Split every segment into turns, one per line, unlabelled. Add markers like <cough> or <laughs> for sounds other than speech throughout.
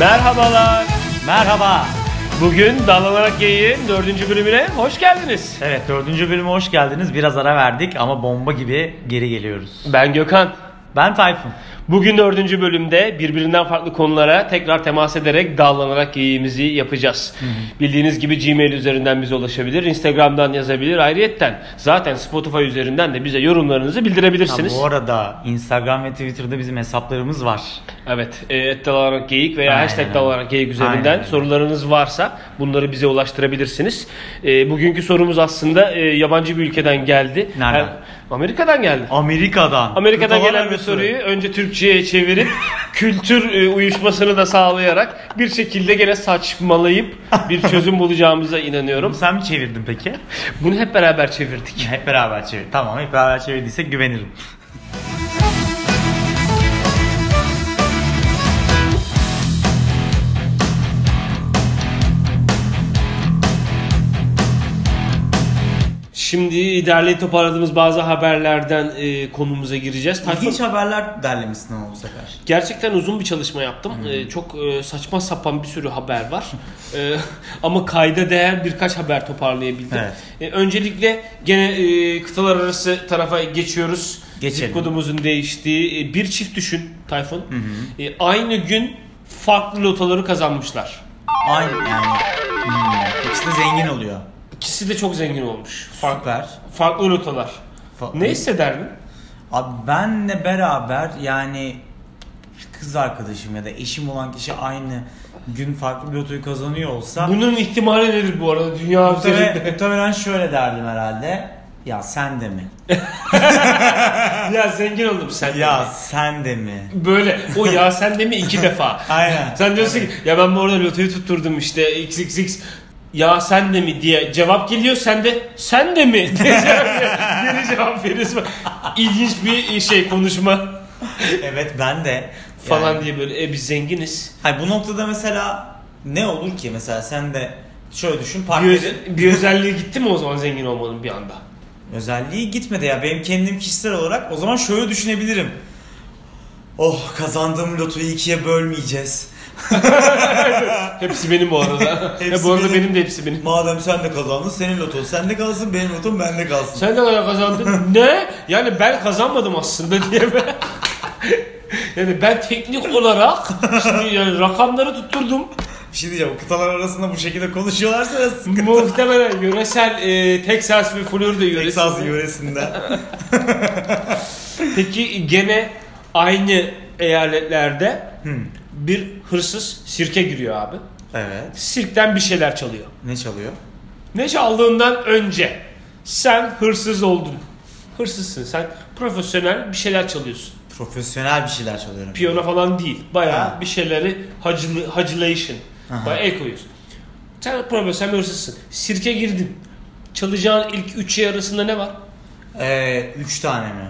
Merhabalar. Merhaba. Bugün Dallanarak Yayın 4. bölümüne hoş geldiniz.
Evet dördüncü bölüme hoş geldiniz. Biraz ara verdik ama bomba gibi geri geliyoruz.
Ben Gökhan.
Ben Tayfun.
Bugün 4. bölümde birbirinden farklı konulara tekrar temas ederek dallanarak yayımızı yapacağız. Bildiğiniz gibi Gmail üzerinden bize ulaşabilir, Instagram'dan yazabilir. Ayrıyetten zaten Spotify üzerinden de bize yorumlarınızı
Ha,
bildirebilirsiniz.
bu arada Instagram ve Twitter'da bizim hesaplarımız var.
Evet, e, et dalanak geyik veya
Aynen
hashtag
öyle.
dalanak geyik üzerinden
Aynen öyle.
sorularınız varsa bunları bize ulaştırabilirsiniz. E, bugünkü sorumuz aslında e, yabancı bir ülkeden geldi.
Nereden?
Amerika'dan geldi.
Amerika'dan.
Amerika'dan
Kıtalar
gelen bir
arası.
soruyu önce Türkçe'ye <laughs> çevirip kültür e, uyuşmasını da sağlayarak bir şekilde gene saçmalayıp bir çözüm bulacağımıza inanıyorum.
Sen mi çevirdin peki? <laughs>
Bunu hep beraber çevirdik.
Hep beraber çevir. Tamam hep beraber çevirdiysek güvenirim.
Şimdi derleyip toparladığımız bazı haberlerden e, konumuza gireceğiz. Tayfun-
İlginç haberler derlemişsin ama bu sefer.
Gerçekten uzun bir çalışma yaptım. Ee, çok e, saçma sapan bir sürü haber var. Ee, <laughs> ama kayda değer birkaç haber toparlayabildim.
Evet.
Ee, öncelikle gene e, kıtalar arası tarafa geçiyoruz.
Geçelim.
Zip kodumuzun değiştiği e, bir çift düşün Tayfun. E, aynı gün farklı lotoları kazanmışlar.
Aynı yani. Hmm. İkisi de zengin oluyor.
İkisi de çok zengin olmuş. Farklı,
Süper.
farklı lotolar.
Fa-
Ne hissederdin?
Abi benle beraber yani kız arkadaşım ya da eşim olan kişi aynı gün farklı bir lotoyu kazanıyor olsa
Bunun ihtimali nedir bu arada dünya
muhtemelen,
üzerinde?
muhtemelen şöyle derdim herhalde. Ya sen de mi?
ya zengin oldum sen.
Ya sen de mi?
Böyle o ya sen de mi iki <laughs> defa.
Aynen.
Sen diyorsun ki ya ben bu arada lotoyu tutturdum işte xxx ya sen de mi diye cevap geliyor sen de sen de mi <laughs> diye cevap veriyor. Geri cevap veriyorsun. İlginç bir şey konuşma
evet ben de. Yani-
falan diye böyle e biz zenginiz.
Hayır, bu noktada mesela ne olur ki mesela sen de şöyle düşün
Bir,
partnerin
öze- bir özelliği gitti mi o zaman zengin olmanın bir anda?
Özelliği gitmedi ya. Benim kendim kişisel olarak o zaman şöyle düşünebilirim. Oh kazandığım lotoyu ikiye bölmeyeceğiz.
Hepsi benim bu
<laughs>
arada.
Hepsi
ya, bu arada benim.
benim.
de hepsi benim.
Madem sen de kazandın senin loton sende kalsın benim lotom bende kalsın.
Sen ne kadar kazandın? ne? Yani ben kazanmadım aslında <laughs> diye ben. yani ben teknik olarak şimdi yani rakamları tutturdum.
Bir şey diyeceğim kıtalar arasında bu şekilde konuşuyorlarsa da sıkıntı.
Muhtemelen yöresel e, Texas ve Florida yöresi. <laughs>
Texas yöresinde.
Peki gene aynı eyaletlerde bir hırsız sirke giriyor abi.
evet.
Sirkten bir şeyler çalıyor.
Ne çalıyor?
Ne çaldığından önce sen hırsız oldun. Hırsızsın sen profesyonel bir şeyler çalıyorsun.
Profesyonel bir şeyler çalıyorum.
Piyano falan değil. Bayağı
Ha.
bir şeyleri hacılı, hacılayışın.
Aha.
Bayağı el koyuyorsun. Sen profesyonel bir hırsızsın. Sirke girdin. Çalacağın ilk üç şey arasında ne var?
Ee, üç tane mi?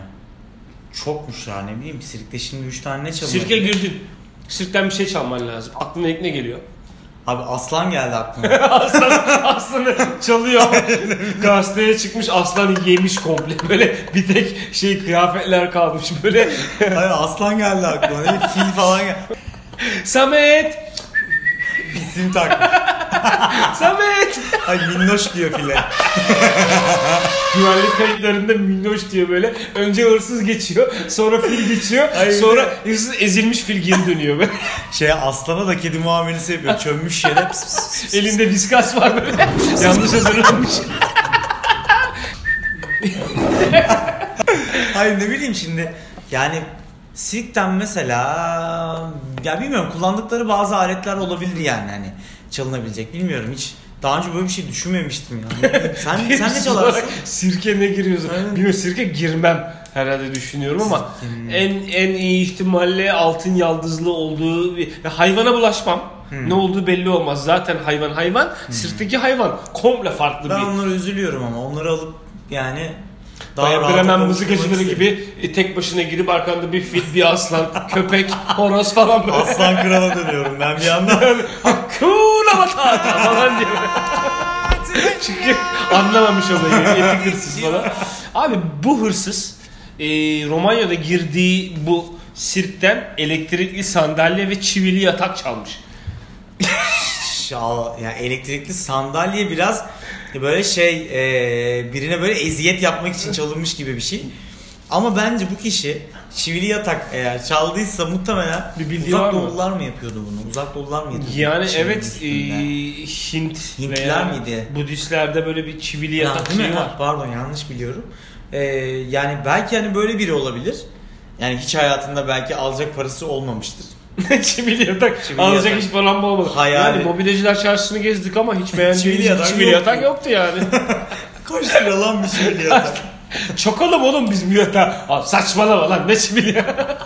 Çokmuş ya ne bileyim sirkte şimdi üç tane ne çalıyor?
Sirke girdin. Sirkten bir şey çalman lazım. Aklına ilk ne geliyor?
Abi aslan geldi aklıma. <laughs>
Aslan, aslanı çalıyor. Gazeteye çıkmış aslan yemiş komple. Böyle bir tek şey kıyafetler kalmış böyle.
Hayır aslan geldi aklıma. Ne bileyim, fil falan geldi.
Samet!
İsim takmış.
Samet!
Ay minnoş diyor file.
Güvenlik kayıtlarında minnoş diyor böyle. Önce hırsız geçiyor. Sonra fil geçiyor.
Ay,
sonra hırsız ezilmiş fil geri dönüyor böyle.
Şey aslana da kedi muamelesi yapıyor. Çömmüş yere pıs pıs pıs pıs.
Elinde viskas var böyle.
<laughs>
Yanlış hazırlanmış.
Hayır ne bileyim şimdi. Yani Silk'ten mesela ya bilmiyorum kullandıkları bazı aletler olabilir yani hani çalınabilecek bilmiyorum hiç daha önce böyle bir şey düşünmemiştim yani.
<laughs>
sen sen ne
Hırsız
çalarsın?
şey olarak Sirke ne giriyorsun?
Aynen.
Bilmiyorum sirke girmem herhalde düşünüyorum ama en en iyi ihtimalle altın yaldızlı olduğu bir- ya hayvana bulaşmam.
Hmm.
Ne olduğu belli olmaz. Zaten hayvan hayvan. Sirtteki hayvan komple farklı
Ben
bir.
onlara üzülüyorum ama onları alıp yani daha
Bayağı
rahat
bir hemen
konuşmak
mızık acıları
isterim.
gibi e, tek başına girip arkanda bir fil, bir aslan, <laughs> köpek, horoz falan böyle.
Aslan krala dönüyorum ben bir yandan.
<laughs> Hakuna Matata falan
<laughs>
diyor. Çünkü anlamamış olayı.
<laughs>
Etik hırsız falan. Abi bu hırsız e, Romanya'da girdiği bu sirkten elektrikli sandalye ve çivili yatak çalmış.
şal yani elektrikli sandalye biraz böyle şey e, birine böyle eziyet yapmak için çalınmış gibi bir şey. Ama bence bu kişi çivili yatak eğer çaldıysa muhtemelen
Bir bildiği var
uzak
mı?
doğulular mı yapıyordu bunu? Uzak doğulular mı yapıyordu?
Yani
çivinin
evet e,
üstünde?
Hint
Hintliler
veya
miydi?
Budistlerde böyle bir çivili
Ya,
yatak
değil mi?
şeyi var. <laughs>
Ha, Pardon yanlış biliyorum. Ee, yani belki hani böyle biri olabilir. Yani hiç hayatında belki alacak parası olmamıştır.
çivili yatak.
Çivili
Alacak
yatak.
hiç falan olmadı.
Hayal.
Yani mobilyacılar çarşısını gezdik ama hiç beğendiğimiz
<laughs> Çivili
çivili,
yatak
çivili
yoktu.
yatak yoktu yani.
Kaç lira lan bir çivili
<laughs>
yatak?
Çokalım oğlum biz bu yatağı. Abi saçmalama lan ne çivili <laughs> ya.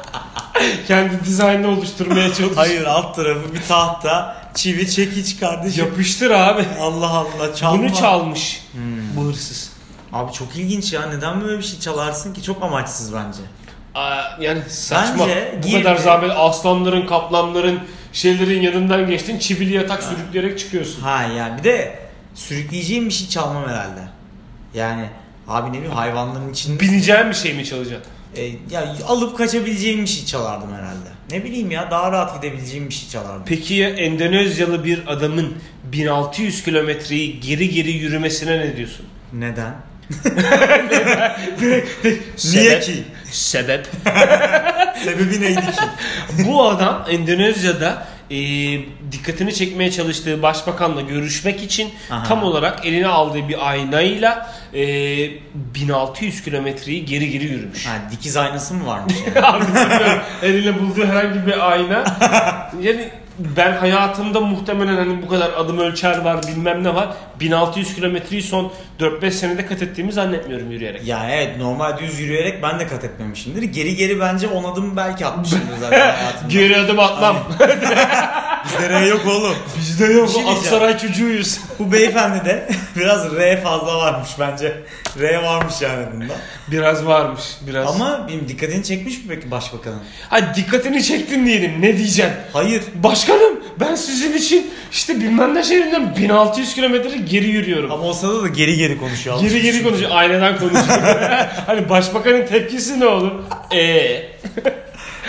Kendi dizaynını oluşturmaya çalış.
Hayır alt tarafı bir tahta çivi çekiç kardeşim.
Yapıştır abi.
Allah Allah çalma. Hmm.
Bunu çalmış bu hırsız.
Abi çok ilginç ya neden böyle bir şey çalarsın ki çok amaçsız bence.
Aa, yani saçma.
Bence
bu kadar
girdi.
zahmet aslanların, kaplanların, şeylerin yanından geçtin. Çivili yatak sürükleyerek çıkıyorsun.
Ha yani bir de sürükleyeceğim bir şey çalmam herhalde. Yani abi ne bileyim hayvanların içinde
Bineceğin bir şey mi çalacaksın?
E, ya alıp kaçabileceğim bir şey çalardım herhalde. Ne bileyim ya daha rahat gidebileceğim bir şey çalardım.
Peki ya Endonezyalı bir adamın 1600 kilometreyi geri geri yürümesine ne diyorsun?
Neden?
Sebep-
ki?
Sebep.
<laughs> Sebebi neydi ki?
Bu adam Endonezya'da e, dikkatini çekmeye çalıştığı başbakanla görüşmek için
Aha.
tam olarak eline aldığı bir aynayla e, 1600 kilometreyi geri geri yürümüş.
Ha, dikiz aynası mı varmış
<laughs>
yani?
Abi bilmiyorum. eline bulduğu herhangi bir ayna. Yani ben hayatımda muhtemelen hani bu kadar adım ölçer var bilmem ne var. 1600 kilometreyi son 4-5 senede kat ettiğimi zannetmiyorum yürüyerek.
Ya evet normal düz yürüyerek ben de kat etmemişimdir. Geri geri bence 10 adım belki atmışımdır zaten hayatımda.
Geri adım atmam.
Bizde R yok oğlum.
Bizde yok.
Bir şey diyeceğim.
Aksaray çocuğuyuz.
Bu beyefendi de <laughs> biraz R fazla varmış bence. R varmış yani bunda.
Biraz varmış. Biraz.
Ama benim dikkatini çekmiş mi peki başbakanın?
Ha dikkatini çektin diyelim. Ne diyeceğim?
Hayır.
Başkanım ben sizin için işte bilmem ne şehrinden 1600 kilometre geri yürüyorum.
Ama olsa da da geri geri konuşuyor.
geri geri konuşuyor. Aynadan konuşuyor.
<laughs>
hani başbakanın tepkisi ne olur? E, Eee?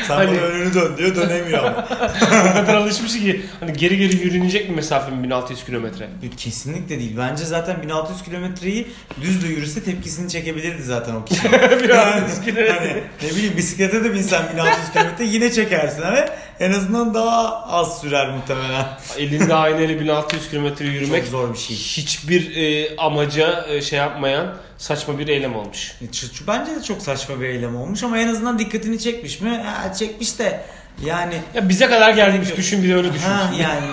Sen
Hani-
bana önünü dön diyor dönemiyor ama. <laughs>
O kadar alışmış ki hani geri geri yürünecek mi mesafem 1600 kilometre?
Kesinlikle değil. Bence zaten 1600 kilometreyi düz de yürüse tepkisini çekebilirdi zaten
<laughs>
o kişi. Yani
1600 kilometre.
hani ne bileyim bisiklete de binsen 1600 kilometre yine çekersin ama en azından daha az sürer muhtemelen.
Elinde aynayla 1600 kilometre yürümek
Çok zor bir şey.
hiçbir e, amaca e, şey yapmayan saçma bir eylem olmuş.
E, Ç- ç- Bence de çok saçma bir eylem olmuş ama en azından dikkatini çekmiş mi? Ha, çekmiş de yani
Ya bize kadar gelmiş düşün bir de öyle düşün.
ha yani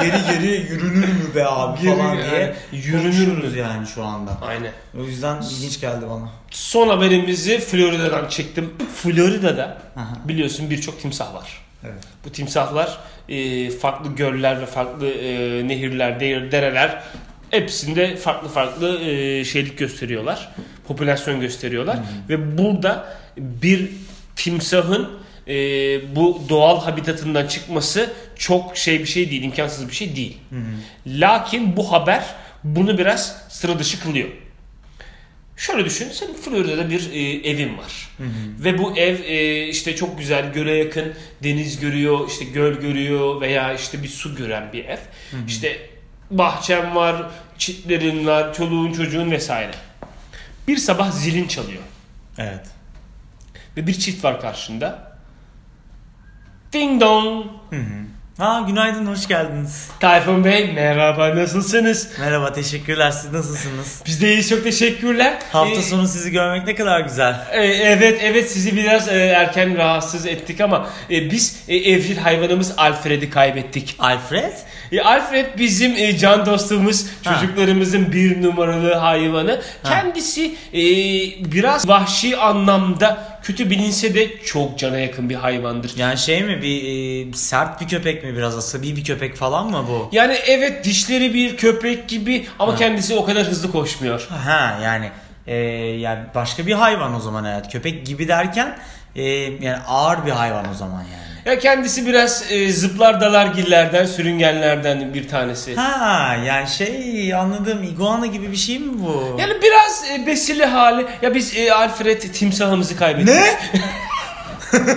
geri geri yürünür mü be abi
Geri
falan
yani,
diye
yürünür mü?
konuşuruz yani şu anda.
Aynen.
O yüzden ilginç geldi bana.
Son haberimizi Florida'dan çektim. Florida'da
Aha.
biliyorsun birçok timsah var.
Evet.
Bu timsahlar e, farklı göller ve farklı e, nehirler, de- dereler hepsinde farklı farklı e, şeylik gösteriyorlar. Popülasyon gösteriyorlar. Ve burada bir timsahın e, bu doğal habitatından çıkması çok şey bir şey değil, imkansız bir şey değil. Lakin bu haber bunu biraz sıra dışı kılıyor. Şöyle düşün, senin Florida'da bir e, evin var. Ve bu ev e, işte çok güzel, göle yakın, deniz görüyor, işte göl görüyor veya işte bir su gören bir ev. İşte bahçen var, çitlerin var, çoluğun çocuğun vesaire. Bir sabah zilin çalıyor
Evet.
ve bir çift var karşında. Ding dong!
Ha günaydın hoş geldiniz.
Tayfun Bey merhaba nasılsınız?
Merhaba teşekkürler siz nasılsınız?
Biz de iyiyiz çok teşekkürler.
Hafta
Ee,
sonu sizi görmek ne kadar güzel.
E, Evet evet sizi biraz e, erken rahatsız ettik ama e, biz e, evcil hayvanımız Alfred'i kaybettik.
Alfred?
E, Alfred bizim e, can dostumuz,
Ha.
çocuklarımızın bir numaralı hayvanı. Kendisi e, biraz vahşi anlamda kötü bilinse de çok cana yakın bir hayvandır.
Yani şey mi bir e, sert bir köpek mi biraz asabi bir köpek falan mı bu?
Yani evet dişleri bir köpek gibi ama
Ha.
kendisi o kadar hızlı koşmuyor.
Ha yani e, yani başka bir hayvan o zaman evet. Köpek gibi derken e, yani ağır bir hayvan o zaman yani.
Ya kendisi biraz e, zıplar dalargillerden, sürüngenlerden bir tanesi.
Ha yani şey anladım iguana gibi bir şey mi bu?
Yani biraz e, besili hali. Ya biz e, Alfred timsahımızı kaybettik.
Ne?
Thank you.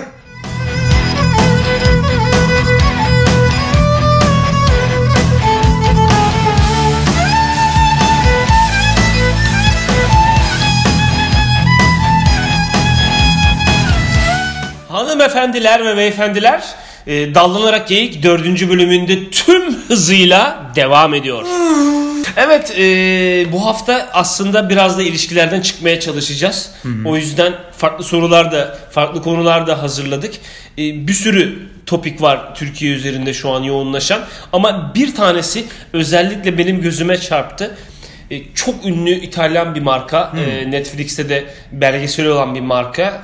hanımefendiler ve beyefendiler e, dallanarak geyik 4. bölümünde tüm hızıyla devam ediyor. <laughs> Evet e, bu hafta aslında biraz da ilişkilerden çıkmaya çalışacağız. O yüzden farklı sorular da farklı konular da hazırladık. E, bir sürü topik var Türkiye üzerinde şu an yoğunlaşan ama bir tanesi özellikle benim gözüme çarptı. E, çok ünlü İtalyan bir marka e, Netflix'te de belgeseli olan bir marka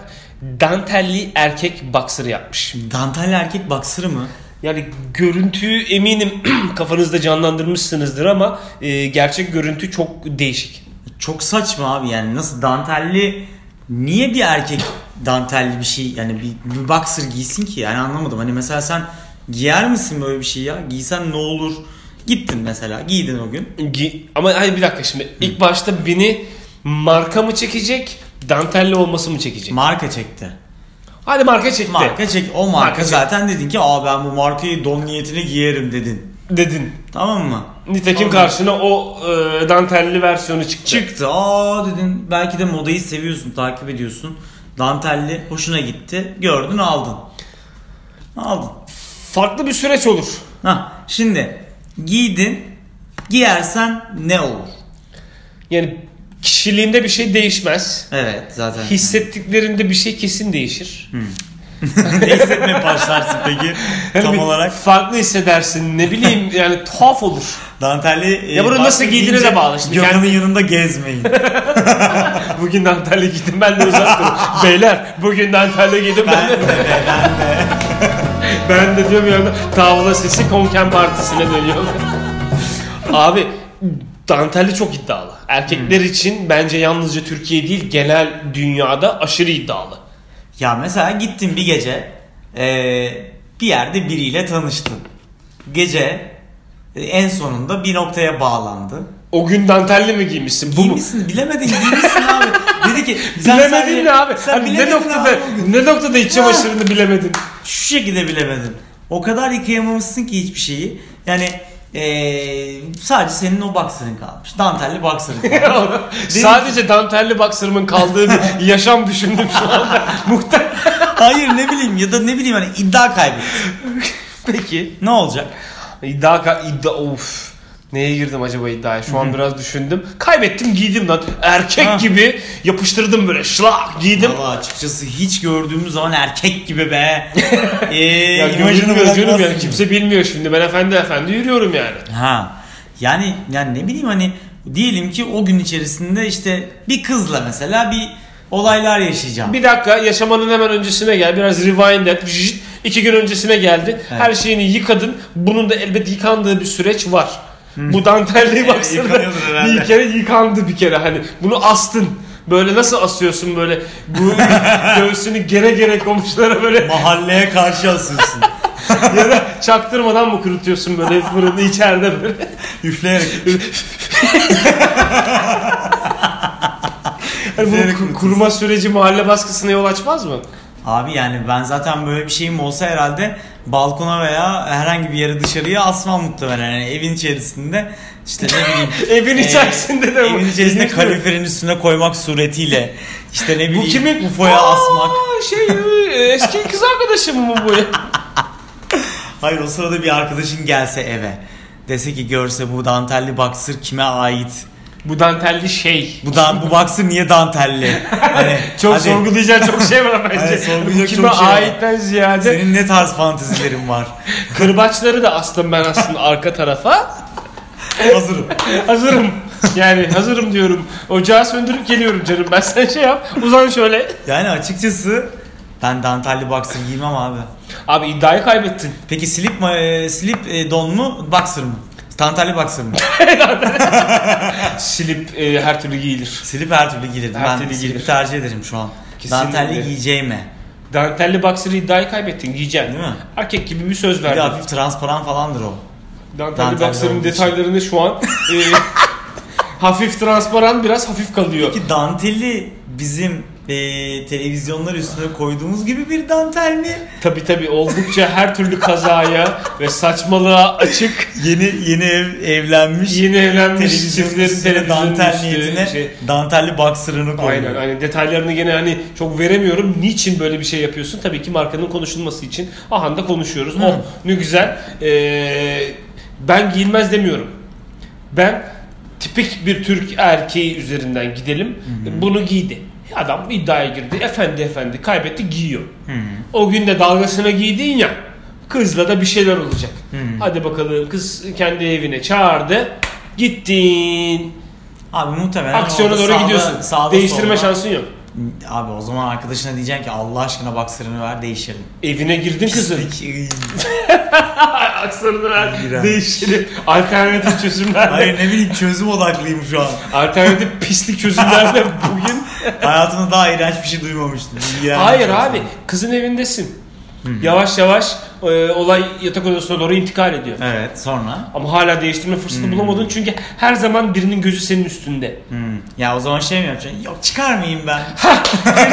dantelli erkek boxer yapmış.
Dantelli erkek baksırı mı?
Yani görüntüyü eminim <clears throat> kafanızda canlandırmışsınızdır ama e, gerçek görüntü çok değişik.
Çok saçma abi yani nasıl dantelli niye bir erkek dantelli bir şey yani bir, bir boxer giysin ki yani anlamadım. Hani mesela sen giyer misin böyle bir şey ya? Giysen ne olur? Gittin mesela giydin o gün.
Gi- Ama hayır bir dakika şimdi ilk başta beni marka mı çekecek, dantelli olması mı çekecek?
Marka çekti.
Hadi marka çekti
Marka çek. O marka,
Marka çek-
zaten dedin ki aa ben bu markayı don niyetine giyerim dedin.
dedin.
Tamam mı?
Nitekim
Tamam.
karşına o e, dantelli versiyonu çıktı.
Çıktı. Aa dedin belki de modayı seviyorsun, takip ediyorsun. Dantelli hoşuna gitti. Gördün aldın. Aldın.
Farklı bir süreç olur.
Ha şimdi giydin. Giyersen ne olur?
Yani kişiliğinde bir şey değişmez.
Evet zaten. <laughs>
Hissettiklerinde bir şey kesin değişir.
ne hissetmeye başlarsın peki?
Yani
Tam
bir
olarak
farklı hissedersin. Ne
<laughs>
bileyim yani tuhaf olur.
dantelli
Ya bunu
başka
nasıl giydiğine
giyince
de bağlı şimdi.
Gökhan'ın
Kendi-
yanında gezmeyin.
Bugün dantelli giydim ben de uzak
<laughs>
durun. Beyler bugün dantelli giydim ben, de. <laughs> ben de diyorum yanımda tavla sesi konken partisine dönüyor. Abi dantelli çok iddialı. Erkekler
Hmm.
için bence yalnızca Türkiye değil genel dünyada aşırı iddialı.
Ya mesela gittin bir gece eee, bir yerde biriyle tanıştın. Gece e, en sonunda bir noktaya bağlandı.
O gün dantelli mi giymişsin? Bu mu?
Giymişsin bilemedin
<laughs>
giymişsin abi. Dedi ki sen
Bilemedin
sen-
ne abi?
Sen
Hani ne
bilemedin
noktada
abi.
ne noktada iç çamaşırını bilemedin?
Şu şekilde bilemedin. O kadar yıkayamamışsın ki hiçbir şeyi. Yani eee, sadece senin o boxer'ın kalmış. Dantelli
<laughs>
boxer'ın kalmış.
Sadece dantelli baksırımın kaldığı
<laughs>
bir yaşam düşündüm şu anda. Muhtemelen.
Hayır ne bileyim ya da ne bileyim hani iddia kaybettin.
Peki.
Ne olacak?
İddia, ka- iddia of. Neye girdim acaba iddiaya? Şu an biraz düşündüm. Kaybettim giydim lan. Erkek
Ha.
gibi yapıştırdım böyle şlak giydim.
Valla açıkçası hiç gördüğümüz zaman erkek
<laughs>
gibi be. Ee,
Ya
imajını
gözünü gözünü
bırakmazsın.
yani kimse bilmiyor şimdi. Ben efendi efendi yürüyorum yani.
Ha. Yani yani ne bileyim hani diyelim ki o gün içerisinde işte bir kızla mesela bir olaylar yaşayacağım.
Bir dakika yaşamanın hemen öncesine gel. Biraz rewind et. Vjjjt. İki gün öncesine geldi. Her şeyini yıkadın. Bunun da elbet yıkandığı bir süreç var. Bu
<laughs>
dantelliği baksana.
E, yıkanıyordur herhalde.
bir kere yıkandı bir kere hani. Bunu astın. Böyle nasıl asıyorsun böyle
<laughs>
bu göğsünü gere gere komşulara böyle
Mahalleye karşı asıyorsun. <laughs>
ya da çaktırmadan mı kurutuyorsun böyle fırını içeride
<laughs>
böyle.
Üfleyerek.
Hani bunun
Üfleyerek
ku- kuruma süreci mahalle baskısına yol açmaz mı?
Abi yani ben zaten böyle bir şeyim olsa herhalde balkona veya herhangi bir yere dışarıya asmam muhtemelen. Yani evin içerisinde işte ne bileyim.
Evin
ee,
içerisinde de bu.
Evin içerisinde
Bilmiyorum.
kaloriferin üstüne koymak suretiyle işte ne bileyim
Bu kimin?
UFO'ya
Aa,
asmak.
Şey e, eski kız arkadaşım mı bu ya?
Hayır o sırada bir arkadaşın gelse eve. Dese ki görse bu dantelli baksır kime ait?
Bu dantelli şey.
Bu dan bu baksır niye dantelli? Hani
<laughs> Çok
hadi,
sorgulayacak çok şey var bence.
Hayır, sorgulayacak
Bu kime
çok şey var.
aitten ziyade
Senin ne tarz
<laughs>
fantezilerin var?
kırbaçları da astım ben aslında arka tarafa.
Hazırım.
Hazırım. Yani hazırım diyorum. Ocağı söndürüp geliyorum canım. Ben sen şey yap. Uzan şöyle.
Yani açıkçası ben dantelli baksır giymem abi.
Abi iddiayı kaybettin.
Peki slip ma- e, slip e, don mu, boxer mı? Dantelli boxer mı?
Silip e, her türlü giyilir.
slip her türlü giyilirdi.
Her
Ben
türlü
slip
giyilir.
tercih ederim şu an.
Kesinlikle.
Dantelli giyeceğime.
Dantelli boxer'ı iddiayı kaybettin. Giyeceksin.
Değil mi?
Erkek gibi bir söz
Bir de
verdin.
hafif transparan falandır o.
Dantelli
Dantelli
boxer'ın
olduğu için.
detaylarını şu an
<laughs>
e, hafif transparan biraz hafif kalıyor.
Ki dantelli bizim eee, televizyonlar üstüne koyduğumuz gibi bir dantel mi?
Tabi tabi oldukça her türlü kazaya ve saçmalığa açık
Yeni yeni ev, evlenmiş.
yeni evlenmiş
televizyon
çiftlerin
üstüne
televizyonun
dantel
üstü,
niyetine
şey-
dantelli boxer'ını koyuyor.
Aynen aynen detaylarını gene hani çok veremiyorum. Niçin böyle bir şey yapıyorsun? Tabii ki markanın konuşulması için. Aha da konuşuyoruz. Oh ne güzel. Ee, ben giyilmez demiyorum. Ben tipik bir Türk erkeği üzerinden gidelim. Bunu giydi. Adam iddiaya girdi. Efendi efendi kaybetti giyiyor.
Hmm.
O gün de dalgasına giydin ya. Kızla da bir şeyler olacak. Hadi bakalım kız kendi evine çağırdı. Gittin.
Abi muhtemelen
Aksiyona
orada
doğru
sağda-
gidiyorsun.
sağda
Değiştirme
solda-
şansın yok.
Abi o zaman arkadaşına diyeceksin ki Allah aşkına boxer'ını ver değişelim.
Evine girdin kızın.
Pislik.
Aksarını ver.
İğrenç.
Değiştirip alternatif
Hayır
çözümlerle.
ne bileyim çözüm odaklıyım şu an.
alternatif pislik çözümlerle
<laughs>
bugün.
Hayatımda daha iğrenç bir şey duymamıştım. İğrenç
Hayır
bir şey.
abi. Kızın evindesin. Yavaş yavaş e, olay yatak odasına doğru intikal ediyor.
Evet sonra.
Ama hala değiştirme fırsatı bulamadın çünkü her zaman birinin gözü senin üstünde.
Hmm. Ya o zaman şey mi yapacaksın? Yok çıkarmayayım ben.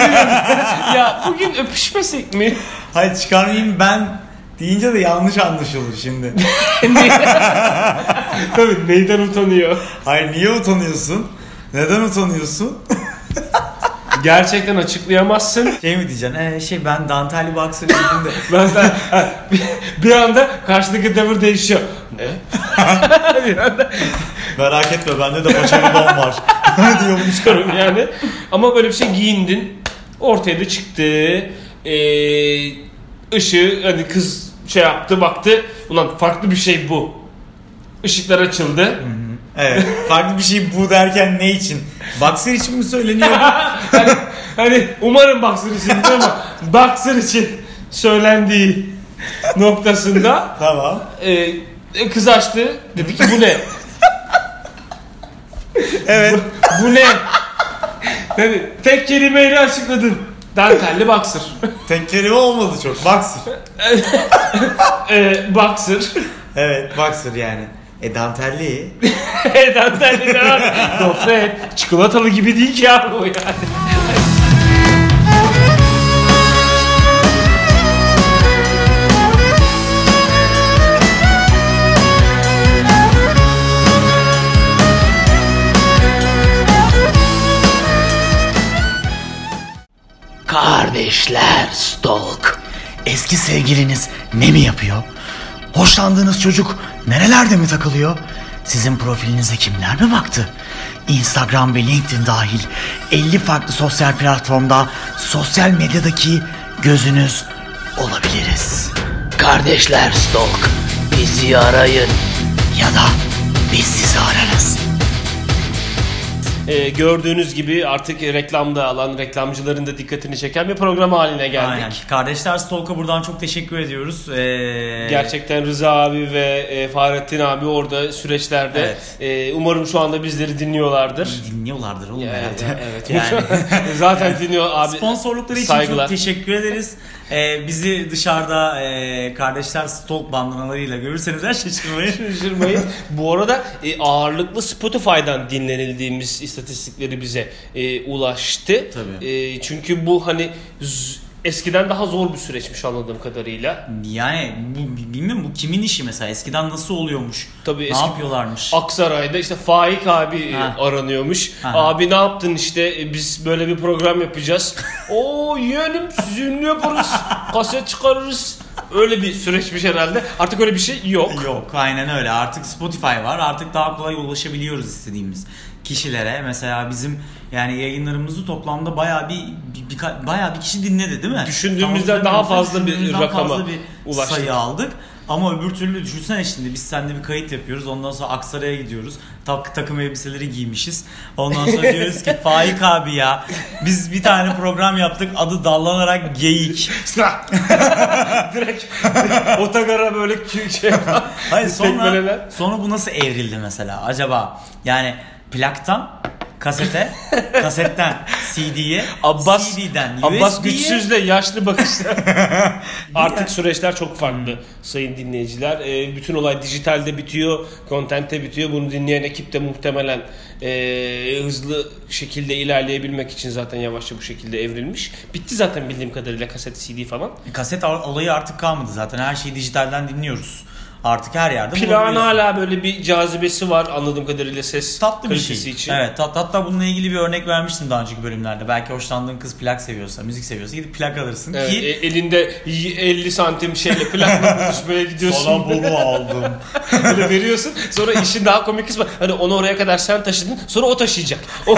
<laughs> ya bugün öpüşmesek
<laughs>
mi?
Hayır çıkarmayayım ben deyince de yanlış anlaşılır şimdi.
Tabii neyden utanıyor?
Hayır niye utanıyorsun? Neden utanıyorsun?
Gerçekten açıklayamazsın.
Şey mi diyeceksin? Ee, şey ben dantelli boxer giydim de.
Ben
<laughs>
sen- ha, bir, <laughs> bir anda karşıdaki tavır değişiyor. Ne? bir anda
Merak etme bende de paçalı don var. <laughs> Diyormuş.
diyorum yani. Ama böyle bir şey giyindin. Ortaya da çıktı. Ee, ışığı hani kız şey yaptı baktı. Ulan farklı bir şey bu. Işıklar açıldı.
Evet. Farklı bir şey bu derken ne için? Boxer için mi söyleniyor?
hani, hani umarım Boxer için değil ama Boxer için söylendiği noktasında
tamam.
e, kız açtı. Dedi ki bu ne?
Evet.
Bu ne? Yani tek kelimeyle açıkladın. Dantelli boxer.
Tek kelime olmadı çok. Boxer.
Ee, boxer.
Evet boxer yani. E dantelli.
<laughs> Dantelli ne var? Gofret. Çikolatalı gibi değil ki abi o yani.
Kardeşler Stalk. Eski sevgiliniz ne mi yapıyor? Hoşlandığınız çocuk nerelerde mi takılıyor? Sizin profilinize kimler mi baktı? Instagram ve LinkedIn dahil 50 farklı sosyal platformda sosyal medyadaki gözünüz olabiliriz. Kardeşler Stalk bizi arayın ya da biz sizi ararız.
Ee, gördüğünüz gibi artık reklamda alan reklamcıların da dikkatini çeken bir program haline geldik.
Aynen. Kardeşler Stalk'a buradan çok teşekkür ediyoruz. Ee,
Gerçekten Rıza abi ve e, Fahrettin abi orada süreçlerde.
Evet.
E, umarım şu anda bizleri dinliyorlardır.
Dinliyorlardır oğlum
Ee,
herhalde. <laughs>
evet.
Yani.
<laughs> Zaten dinliyor abi.
Sponsorlukları için
saygılar.
çok teşekkür ederiz. Ee, bizi dışarıda e, kardeşler stalk bandanalarıyla görürseniz her şaşırmayın.
Şaşırmayın. Bu arada e, ağırlıklı Spotify'dan dinlenildiğimiz istatistikleri bize e, ulaştı.
Tabii.
E, çünkü bu hani z- eskiden daha zor bir süreçmiş anladığım kadarıyla.
Yani bu, bilmiyorum bu kimin işi mesela eskiden nasıl oluyormuş?
Tabii
ne
eski-
yapıyorlarmış?
Aksaray'da işte Faik abi e,
Ha.
aranıyormuş.
Aha.
Abi ne yaptın işte E, biz böyle bir program
<laughs>
yapacağız. Oo yeğenim sizi ünlü yaparız. Kaset çıkarırız. Öyle bir süreçmiş herhalde. Artık öyle bir şey
<laughs>
yok. <laughs>
Yok aynen öyle artık Spotify var artık daha kolay ulaşabiliyoruz istediğimiz kişilere. Mesela bizim yani yayınlarımızı toplamda bayağı bir, bir, birka- bayağı bir kişi dinledi değil mi?
Düşündüğümüzden daha fazla bir
düşündüğümüzden
rakama
fazla bir
ulaştık.
sayı aldık. Ama öbür türlü düşünsene şimdi biz seninle bir kayıt yapıyoruz. Ondan sonra Aksaray'a gidiyoruz. Tak, takım elbiseleri giymişiz. Ondan sonra diyoruz ki <laughs> Faik abi ya biz bir tane program yaptık adı dallanarak geyik.
Sıra. Direkt otogara böyle kü- şey yapar.
Hayır sonra,
Tekmeleler.
sonra bu nasıl evrildi mesela acaba? Yani plaktan
<laughs>
kasete, kasetten CD'ye,
Abbas,
CD'den
Abbas
USB'ye.
güçsüzle yaşlı
<laughs>
bakışlar. Artık süreçler çok farklı sayın dinleyiciler. Ee, bütün olay dijitalde bitiyor, kontente bitiyor. Bunu dinleyen ekip de muhtemelen ee, hızlı şekilde ilerleyebilmek için zaten yavaşça bu şekilde evrilmiş. Bitti zaten bildiğim kadarıyla kaset, CD falan.
Kaset al- olayı artık kalmadı zaten. Her şeyi dijitalden dinliyoruz. Artık her yerde
Plan
bulabiliyorsun.
hala böyle bir cazibesi var anladığım kadarıyla ses
tatlı bir
kalitesi
şey.
için.
Evet tat, hatta bununla ilgili bir örnek vermiştim daha önceki bölümlerde. Belki hoşlandığın kız plak seviyorsa, müzik seviyorsa gidip plak alırsın
Evet,
ki
e- elinde y- 50 santim şeyle <laughs> plakla buluşmaya gidiyorsun.
bunu aldım.
Böyle veriyorsun. Sonra işin daha komik kısmı hani onu oraya kadar sen taşıdın. Sonra o taşıyacak. O,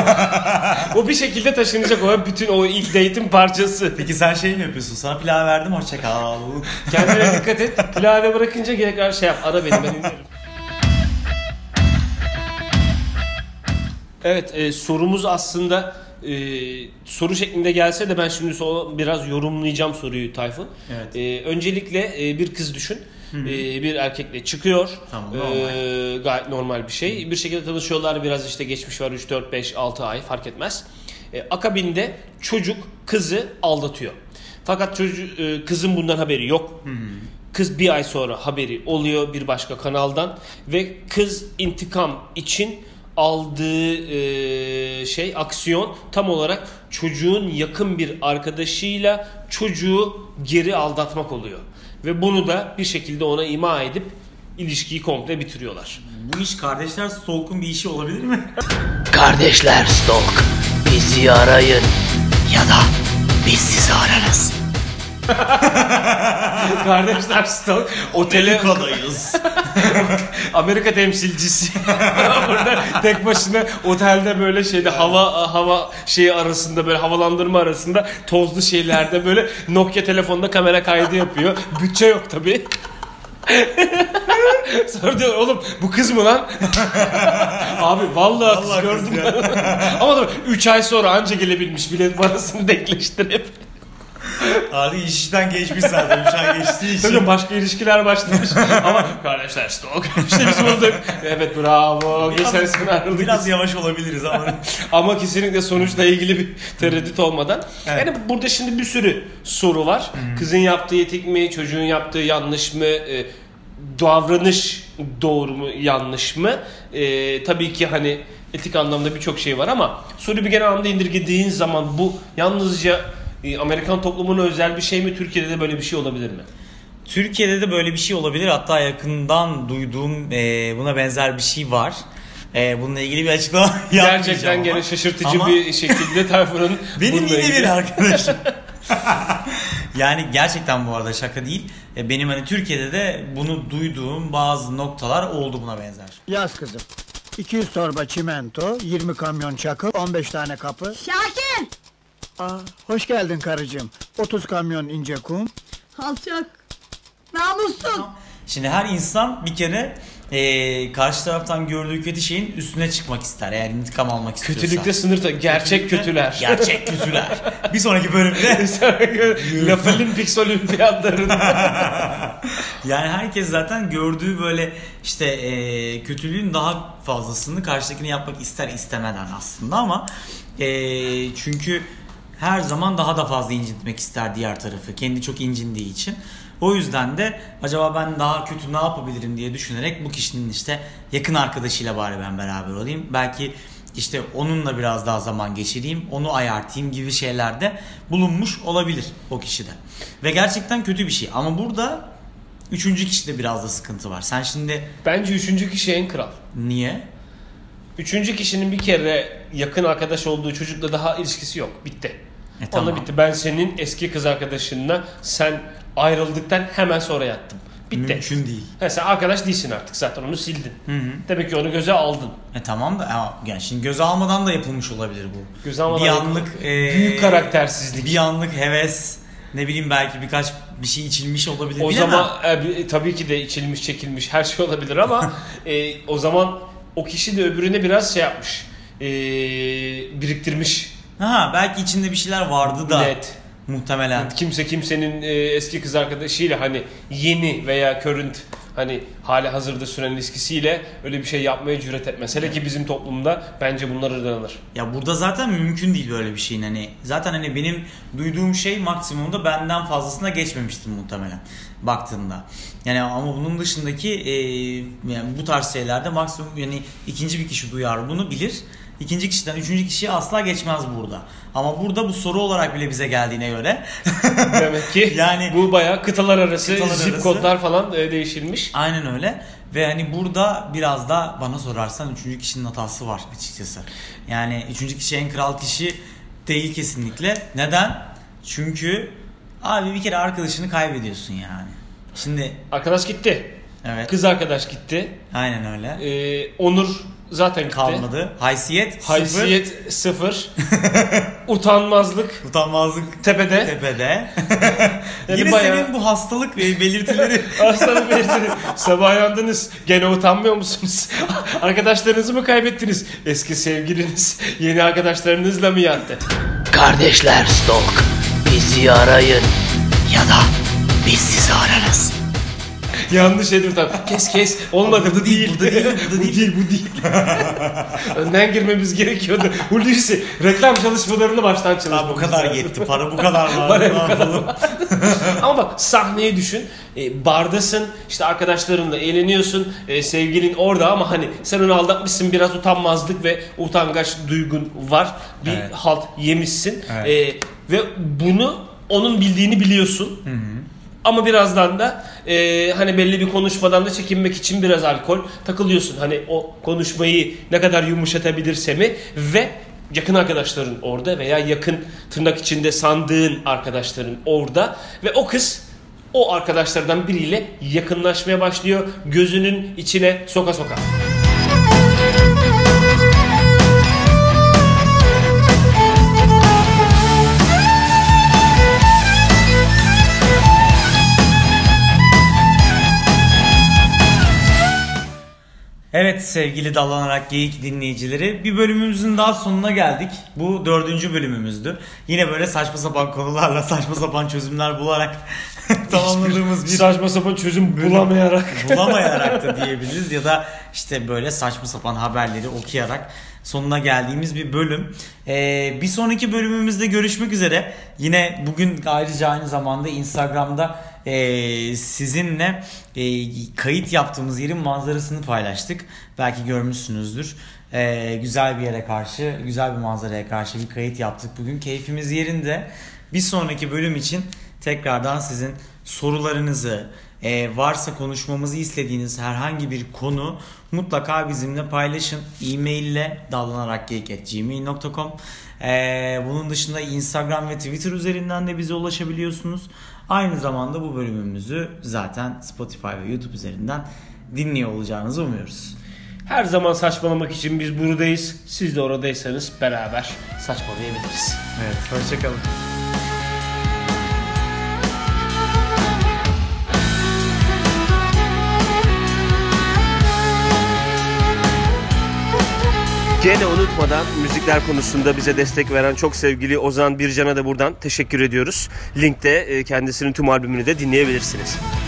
o bir şekilde taşınacak. O bütün o ilk date'in parçası.
Peki sen şey mi yapıyorsun? Sana plağı verdim hoşça kal.
Kendine dikkat et. Pilave bırakınca gerek her şey yap. Ara beni ben dinliyorum. Evet e, sorumuz aslında e, soru şeklinde gelse de ben şimdi so- biraz yorumlayacağım soruyu Tayfun.
Evet.
E, öncelikle e, bir kız düşün. E, bir erkekle çıkıyor.
Tamam,
E, gayet normal bir şey. Bir şekilde tanışıyorlar. Biraz işte geçmiş var 3 4 5 6 ay fark etmez. E, akabinde çocuk kızı aldatıyor. Fakat çocuk e, kızın bundan haberi yok. Kız bir ay sonra haberi oluyor bir başka kanaldan ve kız intikam için aldığı e, şey aksiyon tam olarak çocuğun yakın bir arkadaşıyla çocuğu geri aldatmak oluyor. Ve bunu da bir şekilde ona ima edip ilişkiyi komple bitiriyorlar.
Bu iş kardeşler Stalk'un bir işi olabilir mi?
Kardeşler Stalk bizi arayın. Ya da biz sizi ararız.
Kardeşler Stalk otele
<laughs> Kadayız.
Amerika temsilcisi <laughs> burada tek başına otelde böyle şeyde hava hava şeyi arasında böyle havalandırma arasında tozlu şeylerde böyle Nokia telefonda kamera kaydı yapıyor. Bütçe yok tabi. <laughs> Sonra diyor oğlum bu kız mı lan? <laughs> Abi vallahi, kız
Vallahi kız
gördüm. Ama tabii 3 ay sonra anca gelebilmiş bilet parasını denkleştirip.
Abi iş işten geçmiş zaten. Şu an geçtiği için.
Tabii başka ilişkiler başlamış. <laughs> Ama kardeşler stok. <laughs> İşte biz bulduk. Evet bravo. Geçen sene ayrıldık.
Biraz yavaş olabiliriz ama.
Ama kesinlikle sonuçla ilgili bir tereddüt olmadan.
Evet.
Yani burada şimdi bir sürü soru var. Kızın yaptığı etik mi? Çocuğun yaptığı yanlış mı? E, davranış doğru mu? Yanlış mı? E, tabii ki hani etik anlamda birçok şey var ama soru bir genel anlamda indirgediğin zaman bu yalnızca e, Amerikan toplumuna özel bir şey mi? Türkiye'de de böyle bir şey olabilir mi?
<laughs> Türkiye'de de böyle bir şey olabilir. Hatta yakından duyduğum e, buna benzer bir şey var. E, bununla ilgili bir açıklama <laughs> yapmayacağım
Gerçekten
ama.
gene şaşırtıcı
Ama
bir şekilde <laughs> Tayfun'un
Benim
bununla
yine bir
ilgili- <laughs>
arkadaşım. <laughs> yani gerçekten bu arada şaka değil. E, Benim hani Türkiye'de de bunu duyduğum bazı noktalar oldu buna benzer.
Yaz kızım. 200 torba çimento, 20 kamyon çakıl, 15 tane kapı.
Şakir!
Aa, hoş geldin karıcığım. 30 kamyon ince kum.
Alçak! Namussuz!
Şimdi her insan bir kere e, karşı taraftan gördüğü kötü şeyin üstüne çıkmak ister. Eğer intikam almak istiyorsa.
Kötülükte sınır ta- gerçek kötüler.
Gerçek kötüler. bir sonraki bölümde
<laughs> Laf Olimpiks olimpiyatlarında.
Yani herkes zaten gördüğü böyle işte e, kötülüğün daha fazlasını karşıdakine yapmak ister istemeden aslında ama e, çünkü her zaman daha da fazla incitmek ister diğer tarafı. Kendi çok incindiği için. O yüzden de acaba ben daha kötü ne yapabilirim diye düşünerek bu kişinin işte yakın arkadaşıyla bari ben beraber olayım. Belki işte onunla biraz daha zaman geçireyim, onu ayartayım gibi şeylerde bulunmuş olabilir o kişide. Ve gerçekten kötü bir şey. Ama burada Üçüncü kişide biraz da sıkıntı var. Sen şimdi
<laughs> Bence üçüncü kişi en kral.
niye?
Üçüncü kişinin bir kere yakın arkadaş olduğu çocukla daha ilişkisi yok. Bitti.
E,
Onunla
tamam.
bitti. Ben senin eski kız arkadaşınla sen ayrıldıktan hemen sonra yattım. Bitti.
Mümkün değil.
Ha, sen arkadaş değilsin artık zaten onu sildin.
hı.
Demek ki onu göze aldın.
E tamam da ama yani şimdi göze almadan da yapılmış olabilir bu.
Göze almadan
bir anlık e,
Büyük karaktersizlik.
Bir anlık heves, ne bileyim belki birkaç bir şey içilmiş olabilir.
O
bilemem.
zaman e, bi- tabii ki de içilmiş çekilmiş her şey olabilir
<laughs>
ama e, o zaman o kişi de öbürüne biraz şey yapmış. E, biriktirmiş.
ha belki içinde bir şeyler vardı da
Net.
muhtemelen.
Kimse kimsenin e, eski kız arkadaşıyla hani yeni veya current Hani hali hazırda süren ilişkisiyle öyle bir şey yapmaya cüret etmez. Hele ki bizim toplumda bence bunlar
<laughs>
ırdanılır.
Ya burada zaten mümkün değil böyle bir şeyin hani. Zaten hani benim duyduğum şey maksimumda benden fazlasına geçmemiştim muhtemelen baktığımda. Yani ama bunun dışındaki e, yani bu tarz şeylerde maksimum yani ikinci bir kişi duyar bunu bilir. İkinci kişiden üçüncü kişiye asla geçmez burada. Ama burada bu soru olarak bile bize geldiğine göre
Demek ki yani
Yani-
bu bayağı kıtalar arası
Kıtalar
zip
arası.
kodlar falan e, değişilmiş.
aynen öyle. Ve hani burada biraz da bana sorarsan üçüncü kişinin hatası var açıkçası. Yani üçüncü kişi en kral kişi değil kesinlikle. Neden? Çünkü abi bir kere arkadaşını kaybediyorsun yani. Şimdi
Arkadaş gitti.
evet.
Kız arkadaş gitti.
Aynen öyle.
E, Onur zaten gitti.
Kalmadı. Haysiyet,
Haysiyet sıfır. <laughs> Utanmazlık
sıfır. Utanmazlık
tepede.
tepede.
Yani
Yine
bayağı-
senin bu hastalık
<laughs>
ve belirtileri.
Aslanım belirtili. Sabah yandınız. Gene utanmıyor musunuz? <laughs> Arkadaşlarınızı mı kaybettiniz? Eski sevgiliniz yeni arkadaşlarınızla mı yattı?
Kardeşler Stalk bizi arayın. Ya da biz sizi ararız.
Yanlış Edward abi. Kes kes. Olmadı bu değil.
bu da değil, bu
<laughs>
da
bu değil. Bu değil. Önden girmemiz gerekiyordu. Hulusi reklam çalışmalarını baştan çalışmamız
Daha bu kadar
lazım.
yetti. Para bu kadar var.
Para bu
Ne yapalım?
<laughs> Ama bak sahneyi düşün. E, bardasın, işte arkadaşlarınla eğleniyorsun, e, sevgilin orada ama hani sen onu aldatmışsın biraz utanmazlık ve utangaç duygun var. Bir
Evet.
halt yemişsin.
Evet.
E, ve bunu onun bildiğini biliyorsun. Ama birazdan da e, hani belli bir konuşmadan da çekinmek için biraz alkol takılıyorsun. Hani o konuşmayı ne kadar yumuşatabilirse mi ve yakın arkadaşların orada veya yakın tırnak içinde sandığın arkadaşların orada ve o kız o arkadaşlardan biriyle yakınlaşmaya başlıyor gözünün içine soka soka.
Evet sevgili Dallanarak Geyik dinleyicileri bir bölümümüzün daha sonuna geldik. Bu dördüncü bölümümüzdü. Yine böyle saçma sapan konularla saçma sapan çözümler bularak <laughs> tamamladığımız bir
Saçma sapan çözüm bulamayarak
<laughs> bulamayarak da diyebiliriz ya da işte böyle saçma sapan haberleri okuyarak sonuna geldiğimiz bir bölüm. Ee, bir sonraki bölümümüzde görüşmek üzere. Yine bugün ayrıca aynı zamanda Instagram'da ee, sizinle ee, kayıt yaptığımız yerin manzarasını paylaştık. Belki görmüşsünüzdür. Ee, güzel bir yere karşı, güzel bir manzaraya karşı bir kayıt yaptık bugün. Keyfimiz yerinde. Bir sonraki bölüm için tekrardan sizin sorularınızı, e, varsa konuşmamızı istediğiniz herhangi bir konu mutlaka bizimle paylaşın. E-mail ile dallanarakgeyik.gmail.com e, Bunun dışında Instagram ve Twitter üzerinden de bize ulaşabiliyorsunuz. Aynı zamanda bu bölümümüzü zaten Spotify ve YouTube üzerinden dinliyor olacağınızı umuyoruz.
Her zaman saçmalamak için biz buradayız. Siz de oradaysanız beraber saçmalayabiliriz.
Evet, hoşçakalın.
Gene unutmadan müzikler konusunda bize destek veren çok sevgili Ozan Bircan'a da buradan teşekkür ediyoruz. Linkte e, kendisinin tüm albümünü de dinleyebilirsiniz.